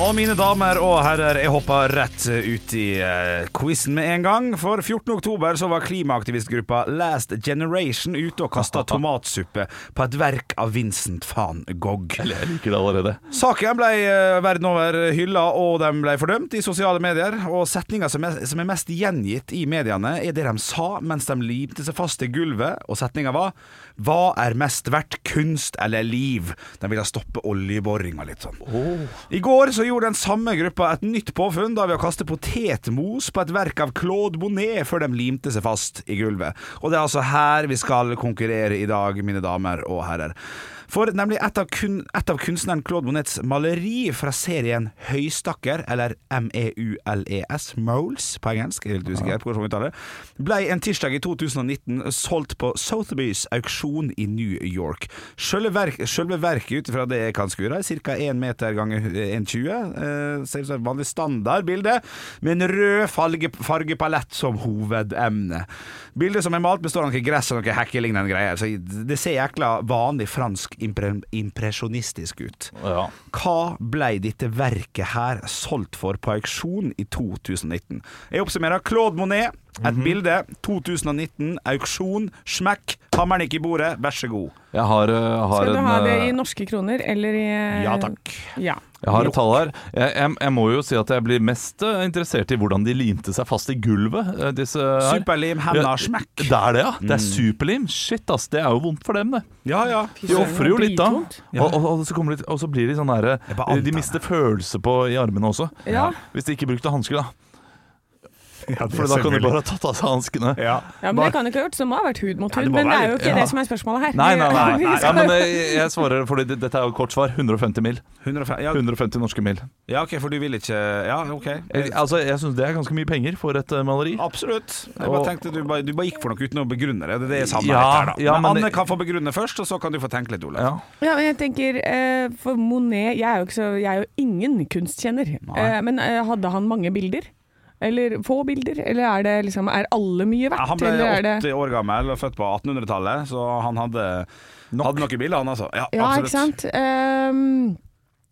E: Og mine damer og herrer, jeg hopper rett ut i uh, quizen med en gang. For 14. oktober så var klimaaktivistgruppa Last Generation ute og kasta tomatsuppe på et verk av Vincent van Gogh.
C: Jeg liker det allerede.
E: Saken ble eh, verden over hylla, og de ble fordømt i sosiale medier. Og setninga som, er- som er mest gjengitt i mediene, er det de sa mens de limte seg fast til gulvet, og setninga var 'Hva er mest verdt, kunst eller liv?' De ville stoppe oljeboringa litt sånn. I går så gjorde den samme gruppa et nytt påfunn da ved å kaste potetmos på et verk av Claude Bonnet før de limte seg fast i gulvet. Og det er altså her vi skal konkurrere i dag, mine damer og herrer. For nemlig et av, kun, et av kunstneren Claude Monets maleri fra serien Høystakker, eller E M-E-U-L-E-S, Moles på engelsk, jeg er litt usikker på hvordan man uttaler det, ble en tirsdag i 2019 solgt på Sotheby's auksjon i New York. Selve, verk, selve verket, ut ifra det jeg kan skue, er ca. 1 meter ganger 1,20. Eh, ser ut som et vanlig standardbilde, med en rød farge, fargepalett som hovedemne. Bildet som er malt, består av noe gress og noe hekkelignende greier. Så det ser jækla vanlig fransk impre impresjonistisk ut.
C: Ja.
E: Hva ble dette verket her solgt for på auksjon i 2019? Jeg oppsummerer Claude Monet, et bilde, 2019, auksjon, smekk, hammeren gikk i bordet, vær så god.
C: Jeg har, eh, har
D: Skal du
C: en
D: ha det
C: eh,
D: i norske kroner eller i eh,
E: Ja takk.
D: Ja.
C: Jeg har et tall her. Jeg, jeg, jeg må jo si at jeg blir mest eh, interessert i hvordan de limte seg fast i gulvet. eh, Disse her.
E: Superlim, Mm. henda, smekk.
C: Det er det, ja. Det er superlim. Shit, ass. Det er jo vondt for dem, det.
E: Ja, [laughs] ja.
C: De ofrer jo litt da.
D: Dritvondt.
C: Og, og, og, så kommer det, litt- og så blir de sånn derre
E: bare antar
C: De
E: det.
C: mister følelse på i armene også.
D: Ja.
C: Hvis de ikke brukte hansker, da.
E: det
C: For da
E: er
C: kan de
E: selvfølgelig.
C: bare ha tatt av seg hanskene.
E: Ja.
D: ja, men det kan du ikke ha gjort, så det må ha vært hud mot
E: Ja, det
D: hud.
E: må
D: Men det
E: være
D: er jo
E: litt-
D: ikke
C: ja.
D: det som er spørsmålet her.
C: Nei, nei, nei.
D: [laughs] Vi
E: [laughs] nei.
C: Ja,
D: skal-
C: men eh, jeg, jeg svarer, for dette er jo et kort svar. 150 mil.
E: 105, ja,
C: 150 norske mil.
E: ja, OK, for du vil ikke Ja, OK.
C: Jeg, altså, jeg syns det er ganske mye penger for et eh, maleri.
E: Absolutt. Jeg bare
C: Og-
E: tenkte Du bare, du bare gikk for noe uten å begrunne det. Det er det jeg savner
C: Ja,
E: litt her, da.
C: ja,
E: men
C: men-
E: Anne kan få begrunne først, og så kan du få tenke litt, Olav.
C: Ja.
D: Ja, men jeg tenker, eh, for Monet Jeg er jo, ikke så, jeg er jo ingen kunstkjenner. Eh, men eh, hadde han mange bilder? Eller få bilder? Eller er, det liksom, er alle mye
E: Ja,
D: verdt?
E: han ble
D: eller er det,
E: 80 år gammel og født på 1800-tallet, så han hadde, hadde noen biler, han altså. Ja,
D: ja,
E: absolutt.
D: ikke sant? Ehm,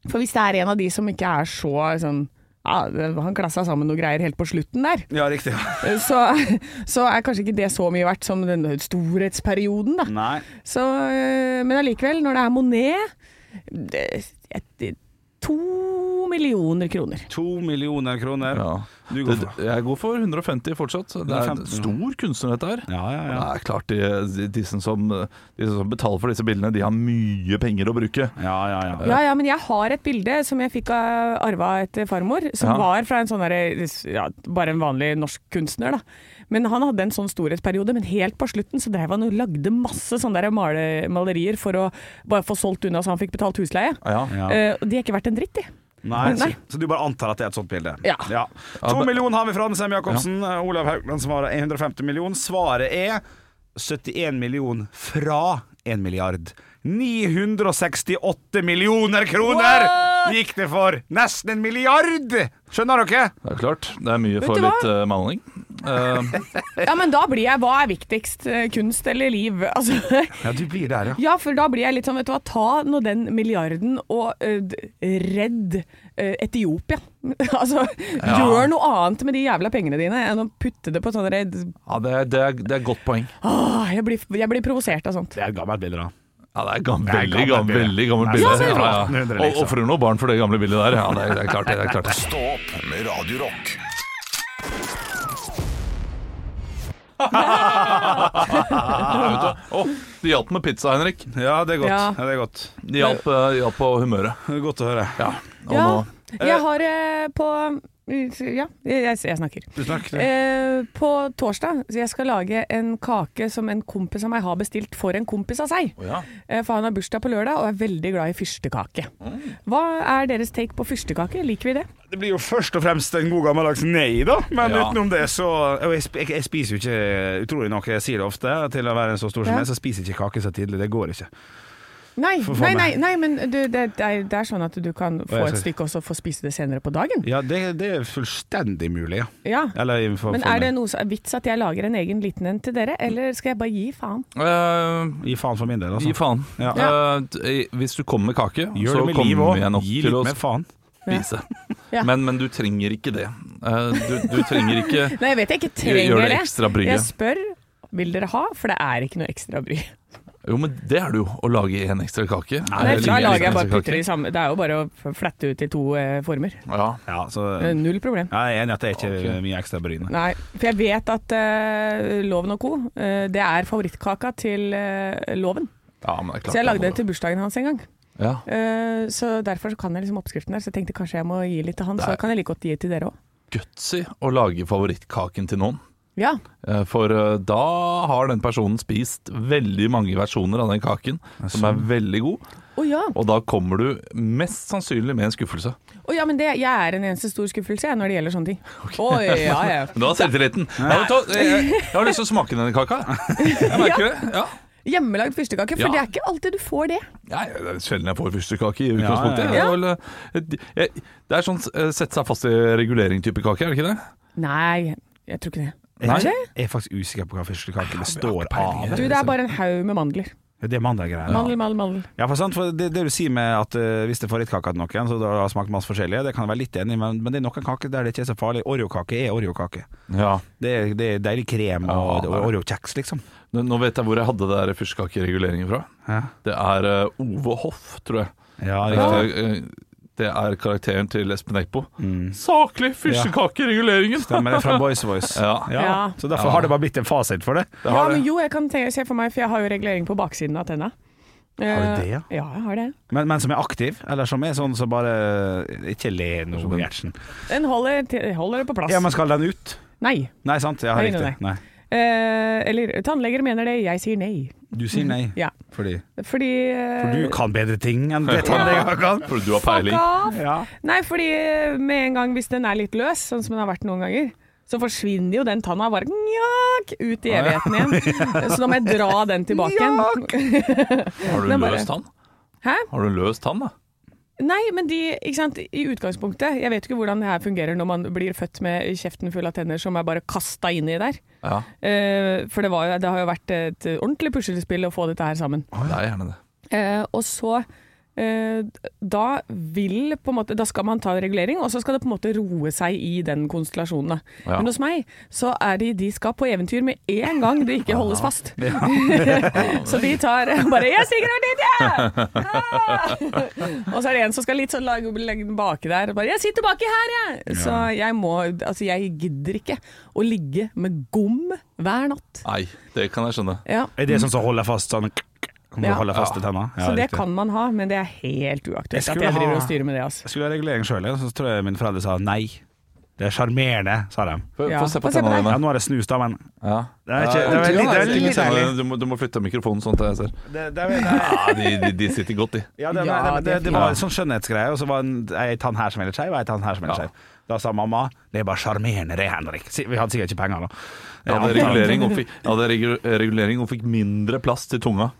D: for hvis det er en av de som ikke er så sånn ja, det- Han klassa sammen noe greier helt på slutten der.
E: Ja, riktig. [laughs]
D: eh, Så, [laughs] så er kanskje ikke det så mye verdt som den storhetsperioden, da.
E: Nei.
D: Så, øh, men allikevel, når det er Monet det, jeg- det- To millioner kroner.
E: To millioner kroner.
C: Ja.
E: Du går
C: Det,
E: for.
C: jeg går for 150 fortsatt. Det er en
E: 150, ja.
C: stor kunstner, dette her.
E: Ja, ja, ja.
C: Det er klart, de, de, de, som, de som betaler for disse bildene, de har mye penger å bruke.
E: Ja, ja, ja.
D: Ja, ja, men jeg har et bilde som jeg fikk av arva etter farmor, som
C: Ja.
D: var fra en sånn derre ja, Bare en vanlig norsk kunstner, da. Men han hadde en sånn storhetsperiode, men helt på slutten så drev han og lagde masse sånne der male, malerier for å bare få solgt unna så han fikk betalt husleie.
C: Ja.
E: Ja.
D: Eh, og de er ikke verdt en dritt,
E: [laughs]
D: de.
E: Nei, så,
D: Nei.
E: så du bare antar at det er et sånt bilde?
D: Ja.
E: To
C: men-
E: millioner har vi fra Anne Sem Jacobsen. Eh, Olav Haugland svarer 150 million. Svaret er 71 million fra 1 milliard. 968 millioner kroner gikk det for! Nesten en milliard! Skjønner dere?
C: Det er klart. Det er mye
D: Vet
C: for
D: du hva?
C: litt eh, maling. Eh,
D: Ja, men da blir jeg Hva er viktigst? eh, Kunst eller liv? Altså,
E: Ja, du blir der, ja.
D: Ja, for da blir jeg litt sånn, vet du hva, ta nå den milliarden og eh, d- redd eh, Etiopia. [laughs] altså, gjør noe annet med de jævla pengene dine enn å putte det på sånn redd
C: ja, det er, det, er, det er et godt poeng.
D: Åh, jeg blir, jeg blir provosert av sånt.
E: Det er et gammelt bilde, da.
C: Ja, det er gam-
E: Det er
C: veldig, gam-
E: gammelt bilde.
C: veldig gammelt
E: Nei,
C: bilde.
E: ja, det er
C: Ja,
E: fra 1800,
C: ja. Og
E: liksom.
C: ofrer noen barn for det gamle bildet der. Ja, det er, det er klart det. det er klart det.
B: Stå opp med Radio Rock.
C: Å, det hjalp med pizza, Henrik.
E: Ja, det er godt.
D: Ja.
E: Ja, det er godt.
C: Det hjalp, eh, hjalp på humøret.
E: Det er Godt å høre.
C: Ja. Og
D: Ja,
C: nå
D: jeg har eh, på Ja, jeg, jeg- jeg snakker.
E: Du snakker.
D: Eh, på torsdag så jeg skal lage en kake som en kompis av meg har bestilt for en kompis av seg.
C: Å, ja.
D: Eh, For han har bursdag på lørdag og er veldig glad i fyrstekake.
E: Mm.
D: Hva er deres take på fyrstekake? Liker vi det?
E: Det blir jo først og fremst en god gammeldags nei, da. Men
C: Ja.
E: utenom det, så og jeg, sp- jeg, jeg spiser jo ikke utrolig nok, jeg sier det ofte, til å være så stor som
D: Ja.
E: jeg, så spiser jeg ikke kake så tidlig. Det går ikke.
D: Nei,
E: For
D: nei,
E: faen
D: nei,
E: meg.
D: nei men du, det, det, er, det er sånn at du kan få
E: jeg
D: et
E: ser-
D: stykke og så få spise det senere på dagen.
E: Ja, det, det er fullstendig mulig, ja.
D: Ja.
E: Eller innenfor
D: Men er det noe så- vits at jeg lager en egen liten en til dere, eller skal jeg bare gi faen?
C: Eh,
E: Gi faen for min del, altså.
C: Gi faen.
E: Ja.
C: Eh, d- hvis du kommer med kake,
E: Gjør
C: så
E: det med liv
C: kommer
E: òg.
C: jeg nok
E: Gi
C: til å
E: litt mer faen.
C: spise.
D: [laughs] Ja.
C: Men, men du trenger ikke det. Eh, du, du trenger
D: [laughs]
C: ikke
D: Nei, jeg vet jeg ikke
C: Gjør- gjør
D: trenger
C: det ekstra bryet.
D: Jeg spør vil dere ha, for det er ikke noe ekstra bry.
C: Jo, men det er det jo. Å lage én ekstra kake.
D: Nei,
C: Eller
D: da
C: en
D: lager jeg
C: ekstra
D: bare
C: kake.
D: putter i samme Det er jo bare å f- flette ut i to eh, former.
C: Ja.
E: Ja, så
D: Eh,
E: jeg
D: Null problem.
E: er enig i at det er ikke
C: Ok.
E: mye ekstra bry. nei.
D: Nei, for jeg vet at eh, Loven og co. eh, det er favorittkaka til eh, Loven.
C: ja, men det er klart.
D: Så jeg lagde det til bursdagen hans en gang.
C: ja.
D: Eh, Så derfor så kan jeg liksom oppskriften der, så jeg tenkte kanskje jeg må gi litt til han,
C: Det
D: så
C: er-
D: kan jeg like godt gi til dere òg.
C: Gutsy å lage favorittkaken til noen.
D: Ja.
C: Eh, For eh, da har den personen spist veldig mange versjoner av den kaken, som
E: sånn.
C: er veldig god.
D: Å ja.
C: Og da kommer du mest sannsynlig med en skuffelse.
D: Å ja, men det, jeg er en eneste stor skuffelse jeg, når det gjelder [laughs] sånne ting. Å, ja, [laughs] ja.
C: Men da er selvtilliten. Ja, vet du hva, jeg, jeg har lyst til å smake denne kaka. Jeg merker det. Ja.
D: Hjemmelagd fyrstekake, for
C: Ja.
D: det er ikke alltid du får det.
C: Nei, det er sjelden jeg får fyrstekake i utgangspunktet.
E: Ja,
C: Det,
D: ja,
C: er vel, eh, jeg, det er sånn eh, sette seg fast i regulering-type kake, er det ikke det?
D: Nei, jeg tror ikke det.
E: Jeg,
D: Kanskje?
E: jeg er faktisk usikker på hva fyrstekake består av.
D: Du, det er bare en haug med mandler.
E: Det er mandaggreier.
D: Mandel, mandel, mandel.
E: Ja, for sant, for det, det du sier med at eh, hvis det får litt kake til noen, så da har det smakt masse forskjellige, det kan jeg være litt enig i, men, men det er noen kaker der det ikke er så farlig. Oreokake er oreokake.
C: Ja.
E: Det, er- det er deilig krem
C: Ja,
E: og,
C: det er
E: og oreokjeks, liksom.
C: Nå, nå vet jeg hvor jeg hadde det der fyrstekakereguleringen fra.
E: Ja,
C: Det er eh, Ove Hoff, tror jeg.
E: ja riktig.
C: Eh, eh, Det er karakteren til Espen Eckbo. Saklig fyrstekakereguleringen!
E: Stemmer det er fra Boys Voice.
C: [laughs] Ja.
D: Ja.
E: Så derfor har det bare blitt en fasit for det.
C: Det
D: Ja,
C: har
D: men
C: det.
D: jo, jeg kan te- se for meg, for jeg har jo regulering på baksiden av tenna. Eh,
E: Har du det, ja?
D: Ja, jeg har det.
E: Men, men som er aktiv, eller som er sånn som bare eh, Ikke le nå, Gjertsen.
D: Den holder, te- holder det på plass.
E: Ja, men skal den ut?
D: Nei.
E: Nei, sant? Ja,
D: Nei,
E: riktig. Nei.
D: Eh, eller tannleger mener det, jeg sier nei.
E: Du sier nei.
D: [laughs] Ja.
E: Fordi
D: Fordi eh,
E: For du kan bedre ting enn det
C: [laughs]
E: tannlegene kan.
C: For du har
D: Fuck
C: peiling.
D: off!
E: Ja.
D: Nei, fordi eh, med en gang hvis den er litt løs, sånn som den har vært noen ganger, så forsvinner jo den tanna bare njakk, ut i evigheten igjen. Så da må jeg dra den tilbake igjen.
C: Har du
D: Den
C: en
D: bare-
C: løs tann?
D: Hæ?
C: Har du en løs tann, da?
D: Nei, men de, ikke sant, i utgangspunktet Jeg vet ikke hvordan det her fungerer når man blir født med kjeften full av tenner som er bare kasta inni der.
C: Ja,
D: Eh, for det, var jo, det har jo vært et ordentlig puslespill å få dette her sammen.
C: det er gjerne det.
D: Eh, og så eh, da vil på en måte Da skal man ta regulering, og så skal det på en måte roe seg i den konstellasjonen. da.
C: Ja.
D: Men hos meg så er de de skal på eventyr med en gang det ikke holdes fast. [laughs] så de tar bare 'Jeg stikker over dit, jeg!' Ah! [laughs] og så er det en som skal litt sånn lage, legge den baki der. Og bare 'Jeg sitter baki her, jeg!' Så jeg må Altså, jeg gidder ikke å ligge med gom hver natt.
C: Nei, det kan jeg skjønne.
D: Ja.
E: Er det sånn som holder fast sånn Kan du
D: Ja.
E: holde fast i tenna? Ja,
D: så det
E: riktig.
D: kan man ha, men det er helt
E: Jeg
D: uaktuelt at
E: skulle
D: jeg driver
E: ha-
D: og styrer med det. Altså.
E: Jeg skulle ha regulering sjøl, så tror jeg mine foreldre sa nei. Det er sjarmerende, sa de.
C: Få
D: Ja.
C: få se på tennene
E: Ja,
C: dine.
E: nå er det snus, da, men
C: Ja.
E: Det er ikke- det er litt- det er litt-
C: Ja, du, må, du må flytte mikrofonen sånn at jeg ser.
E: det, det, det,
C: Ja, de, de, de sitter godt, de.
E: ja, det,
D: Ja,
E: det, det,
D: det er
E: det var en sånn skjønnhetsgreie, og så var det ei tann her som ville skeiv, og ei tann her som ville
C: Ja.
E: skeiv. Da sa mamma det er bare sjarmerende det, Henrik. Si- Vi hadde sikkert ikke penger da.
C: Jeg hadde
E: Ja,
C: regulering og fikk, jeg hadde regu- regulering og fikk mindre plass til tunga.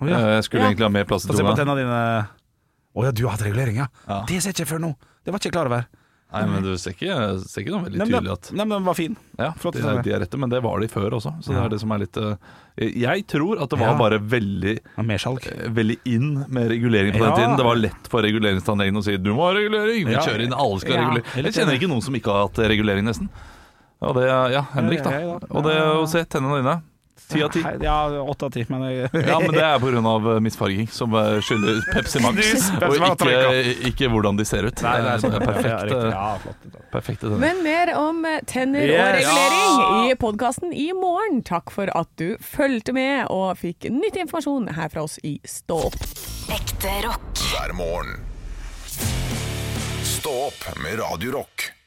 E: Å, ja.
C: Eh, Jeg skulle
D: Ja.
C: egentlig ha mer plass
E: Få
C: til
E: se på
C: tunga.
E: tennene dine. Å ja, du har hatt regulering, ja.
C: Ja.
E: Det ser jeg ikke før nå. Det var ikke jeg klar over.
C: Nei, men du ser ikke, ser ikke noe veldig
E: Nei, men
C: tydelig
E: den-
C: at
E: Nei, men den var fin.
C: Ja,
E: Flott
C: de,
E: å se.
C: de er rette, men det var de før også. Så det
E: Ja.
C: er det som er litt eh, Jeg tror at det var
E: Ja.
C: bare veldig
E: Og mer salg.
C: eh, Veldig inn med regulering på den
E: Ja.
C: tiden. Det var lett for reguleringstannlegen å si 'du må ha regulering', vi
E: Ja.
C: kjører inn, alle skal ha
D: Ja.
C: regulering. Jeg kjenner ikke noen som ikke har hatt regulering, nesten. Og det, er- ja, Henrik, da.
E: Ja, ja, ja.
C: Og det å se tennene dine. Ti av ti.
E: Hei, Ja, åtte av ti, men jeg [laughs]
C: Ja, men det er pga. misfarging, som eh, skyldes Pepsi Max,
E: Snus, Pepsi
C: og
E: Max,
C: ikke, ikke hvordan de ser ut.
E: Nei,
C: det er
E: Ja,
C: perfekt,
E: riktig.
C: eh,
E: Ja, flott.
C: perfekte tenner.
D: Men mer om tenner og
E: Yes.
D: regulering i podkasten i morgen. Takk for at du fulgte med og fikk nyttig informasjon her fra oss i Stå opp.
G: Ekte rock.
B: hver morgen. Stå opp med Radio Rock.